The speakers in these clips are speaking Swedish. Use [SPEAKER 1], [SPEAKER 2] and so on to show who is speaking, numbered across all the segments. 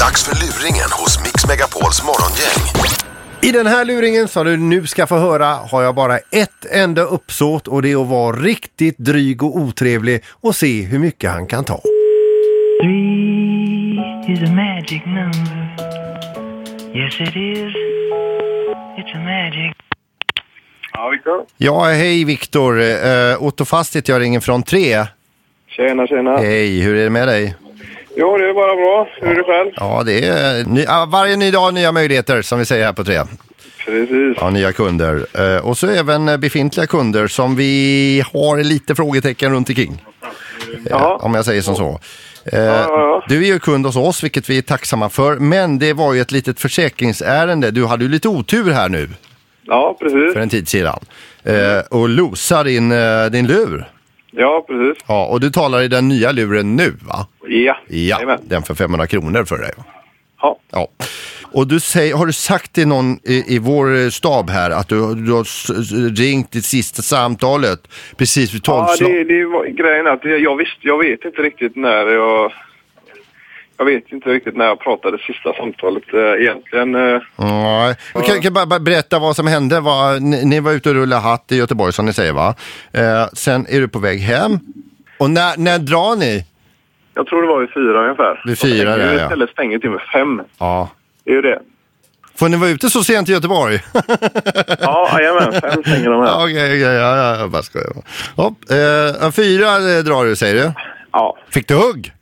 [SPEAKER 1] Dags för luringen hos Mix Megapols morgongäng.
[SPEAKER 2] I den här luringen som du nu ska få höra har jag bara ett enda uppsåt och det är att vara riktigt dryg och otrevlig och se hur mycket han kan ta.
[SPEAKER 3] Three is a magic number. Yes, it is. It's a magic.
[SPEAKER 4] Ja, Viktor.
[SPEAKER 2] Ja, hej Viktor. Uh, Otto Fastigt jag ringer från 3.
[SPEAKER 4] Tjena, tjena.
[SPEAKER 2] Hej, hur är det med dig?
[SPEAKER 4] Jo, det är bara bra. Hur är det själv?
[SPEAKER 2] Ja, det är eh, ny, ja, varje ny dag nya möjligheter som vi säger här på 3.
[SPEAKER 4] Precis.
[SPEAKER 2] Ja, nya kunder. Eh, och så även eh, befintliga kunder som vi har lite frågetecken runt omkring.
[SPEAKER 4] Ja.
[SPEAKER 2] Om jag säger som så. Eh,
[SPEAKER 4] ja.
[SPEAKER 2] Du är ju kund hos oss, vilket vi är tacksamma för. Men det var ju ett litet försäkringsärende. Du hade ju lite otur här nu
[SPEAKER 4] Ja,
[SPEAKER 2] för
[SPEAKER 4] precis.
[SPEAKER 2] en tid sedan. Eh, och losar din, eh, din lur.
[SPEAKER 4] Ja, precis.
[SPEAKER 2] Ja, och du talar i den nya luren nu va?
[SPEAKER 4] Ja.
[SPEAKER 2] Ja,
[SPEAKER 4] Jajamän.
[SPEAKER 2] den för 500 kronor för dig.
[SPEAKER 4] Ja.
[SPEAKER 2] Ja. Och du säger, har du sagt till någon i, i vår eh, stab här att du, du har s- s- ringt ditt sista samtalet precis vid
[SPEAKER 4] Ja,
[SPEAKER 2] tolvslaget?
[SPEAKER 4] det, det var grejen är att jag, jag visste, jag vet inte riktigt när jag... Jag vet inte riktigt när jag pratade sista samtalet eh, egentligen. eh.
[SPEAKER 2] Nej. Du kan, kan bara bara berätta vad som hände. Vad, ni, ni var ute och rullade hatt i Göteborg som ni säger va? Eh, sen är du på väg hem. Och när, när drar ni?
[SPEAKER 4] Jag tror det var vid fyra ungefär.
[SPEAKER 2] Vid fyra,
[SPEAKER 4] Jag tänker
[SPEAKER 2] ja,
[SPEAKER 4] ju
[SPEAKER 2] ja.
[SPEAKER 4] Istället stänger till med fem.
[SPEAKER 2] Ja.
[SPEAKER 4] Det är ju det.
[SPEAKER 2] Får ni vara ute så sent i Göteborg?
[SPEAKER 4] Ja, jajamän. Fem stänger de
[SPEAKER 2] Ja,
[SPEAKER 4] här.
[SPEAKER 2] okej, okej, ja, ja, jag bara skojar. Hopp, eh, fyra eh, drar du säger du.
[SPEAKER 4] Ja.
[SPEAKER 2] Fick du hugg?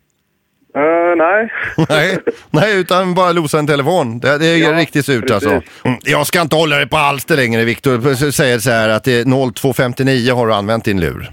[SPEAKER 4] Eh, nej.
[SPEAKER 2] Nej, nej, utan bara losa en telefon. Det, det är
[SPEAKER 4] Ja,
[SPEAKER 2] riktigt surt
[SPEAKER 4] precis.
[SPEAKER 2] alltså. Mm, Jag ska inte hålla dig på halster längre Viktor. Så Säger så här att det är 0259 har du använt din lur.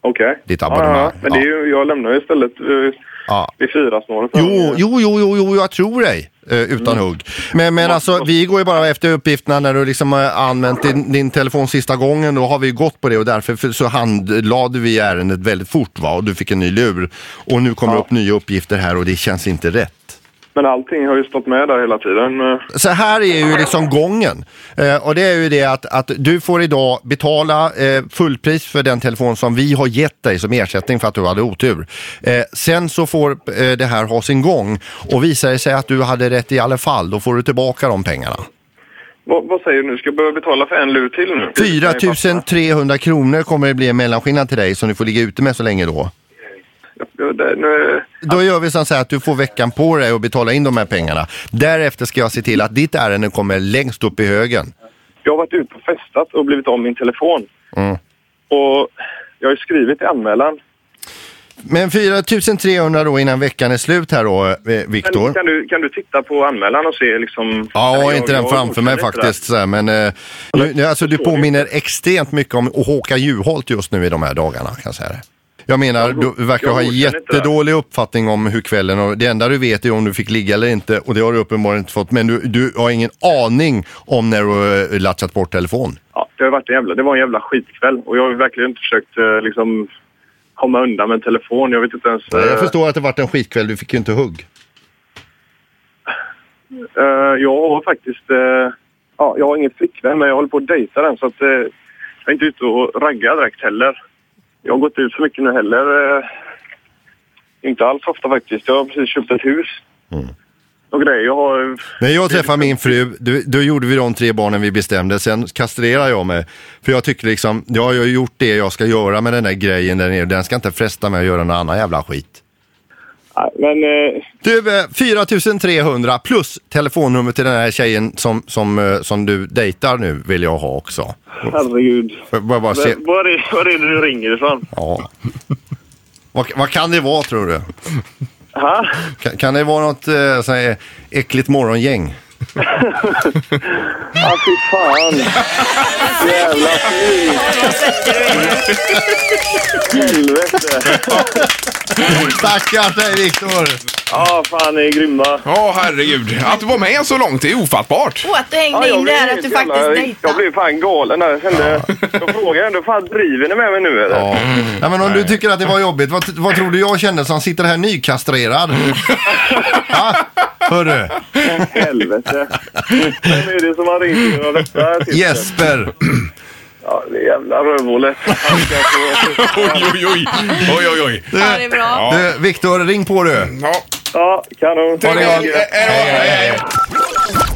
[SPEAKER 4] Okej.
[SPEAKER 2] Ditt
[SPEAKER 4] Ja,
[SPEAKER 2] abonnemang.
[SPEAKER 4] Ja, men det är ju, jag lämnar ju istället uh,
[SPEAKER 2] Ja.
[SPEAKER 4] vid fyra snåret.
[SPEAKER 2] Jo, jo, jo, jo, jo jag tror dig. eh, utan hugg. Men, men alltså, vi går ju bara efter uppgifterna när du liksom eh, använt din, din telefon sista gången. Då har vi ju gått på det och därför för, så handlade vi ärendet väldigt fort va? och du fick en ny lur. Och nu kommer upp nya uppgifter här och det känns inte rätt.
[SPEAKER 4] Men allting har ju stått med där hela tiden. eh.
[SPEAKER 2] Så här är ju liksom gången. Eh, och det är ju det att, att du får idag betala eh, fullpris för den telefon som vi har gett dig som ersättning för att du hade otur. Eh, sen så får eh, det här ha sin gång och visar det sig att du hade rätt i alla fall, då får du tillbaka de pengarna.
[SPEAKER 4] Vad, vad säger du nu? Ska jag behöva betala för en lur till nu?
[SPEAKER 2] 4 300 kronor kommer det bli en mellanskillnad till dig som du får ligga ute med så länge då.
[SPEAKER 4] Ja, det- nu-
[SPEAKER 2] Då gör vi som så här att du får veckan på dig och betala in de här pengarna. Därefter ska jag se till att ditt ärende kommer längst upp i högen.
[SPEAKER 4] Jag har varit ute och festat och blivit av min telefon.
[SPEAKER 2] Mm.
[SPEAKER 4] Och jag har ju skrivit i anmälan.
[SPEAKER 2] Men 4300 då innan veckan är slut här då, eh,
[SPEAKER 4] Men
[SPEAKER 2] Viktor.
[SPEAKER 4] kan, du, kan du titta på anmälan och se liksom...
[SPEAKER 2] Ja,
[SPEAKER 4] Nej,
[SPEAKER 2] jag
[SPEAKER 4] jag-
[SPEAKER 2] har inte den
[SPEAKER 4] jag
[SPEAKER 2] framför mig
[SPEAKER 4] orkar inte
[SPEAKER 2] faktiskt. Så här, men eh, nu, nu, alltså, du påminner extremt mycket om Håkan Juholt just nu i de här dagarna. Kan jag, säga det. jag menar, du verkar
[SPEAKER 4] jag
[SPEAKER 2] ha
[SPEAKER 4] godkänner inte det.
[SPEAKER 2] jättedålig uppfattning om hur kvällen och det enda du vet är om du fick ligga eller inte och det har du uppenbarligen inte fått. Men du, du har ingen aning om när du eh, latchat bort telefon.
[SPEAKER 4] Ja, det, har varit en jävla, det var en jävla skitkväll och jag har verkligen inte försökt eh, liksom, komma undan med en telefon. Jag vet inte ens...
[SPEAKER 2] Jag
[SPEAKER 4] eh,
[SPEAKER 2] förstår att det varit en skitkväll, du fick ju inte hugg.
[SPEAKER 4] Eh, jag har faktiskt... eh, ja, jag har ingen flickvän, men jag håller på att dejta den. Så att, eh, jag är inte ute och raggar direkt heller. Jag har gått ut så mycket nu heller. eh, inte alls ofta faktiskt. Jag har precis köpt ett hus. Och grejer. Jag har...
[SPEAKER 2] När jag träffade min fru, då, då gjorde vi de tre barnen vi bestämde, sen kastrerade jag mig. För jag tycker liksom, jag har ju gjort det jag ska göra med den där grejen där nere, den ska inte fresta mig att göra någon annan jävla skit.
[SPEAKER 4] Nej, men eh,
[SPEAKER 2] Du, eh, 4300 plus telefonnummer till den här tjejen som, som, eh, som du dejtar nu vill jag ha också.
[SPEAKER 4] herregud.
[SPEAKER 2] Får jag Bara, bara se.
[SPEAKER 4] Men, var, är, var är det du ringer ifrån?
[SPEAKER 2] Ja. Vad, vad kan det vara tror du?
[SPEAKER 4] Ha?
[SPEAKER 2] Kan, kan det vara något eh, sån här äckligt morgongäng?
[SPEAKER 4] Ah, fy fan. Jävla skit. Helvete.
[SPEAKER 2] Stackars dig Viktor!
[SPEAKER 4] Ja, fan, ni är grymma.
[SPEAKER 5] Ja, herregud. Att du var med så långt är ofattbart.
[SPEAKER 6] Åh, att du hängde in det
[SPEAKER 4] blev
[SPEAKER 6] här
[SPEAKER 4] helt
[SPEAKER 6] att du
[SPEAKER 4] jävla-
[SPEAKER 6] faktiskt
[SPEAKER 4] Jag
[SPEAKER 6] dejtar.
[SPEAKER 4] blev fan galen där. Jag kände, jag frågade ändå, fan driver ni med mig nu eller?
[SPEAKER 2] Ja. Nej, men om du tycker att det var jobbigt, vad, vad tror du jag kände som sitter här nykastrerad? ja, hörru.
[SPEAKER 4] Helvete. Vem är det som har ringt in och detta? typ?
[SPEAKER 2] Jesper.
[SPEAKER 4] Ja, det är jävla rövhålet. Han ska få-
[SPEAKER 5] Oj, oj, oj. oj, oj, oj.
[SPEAKER 6] Ja, det är bra.
[SPEAKER 2] Du, Viktor, ring på du.
[SPEAKER 5] Ja.
[SPEAKER 4] Ja, kanon.
[SPEAKER 5] Tack,
[SPEAKER 2] det var-
[SPEAKER 5] Helge. Hej då. Hej, hej.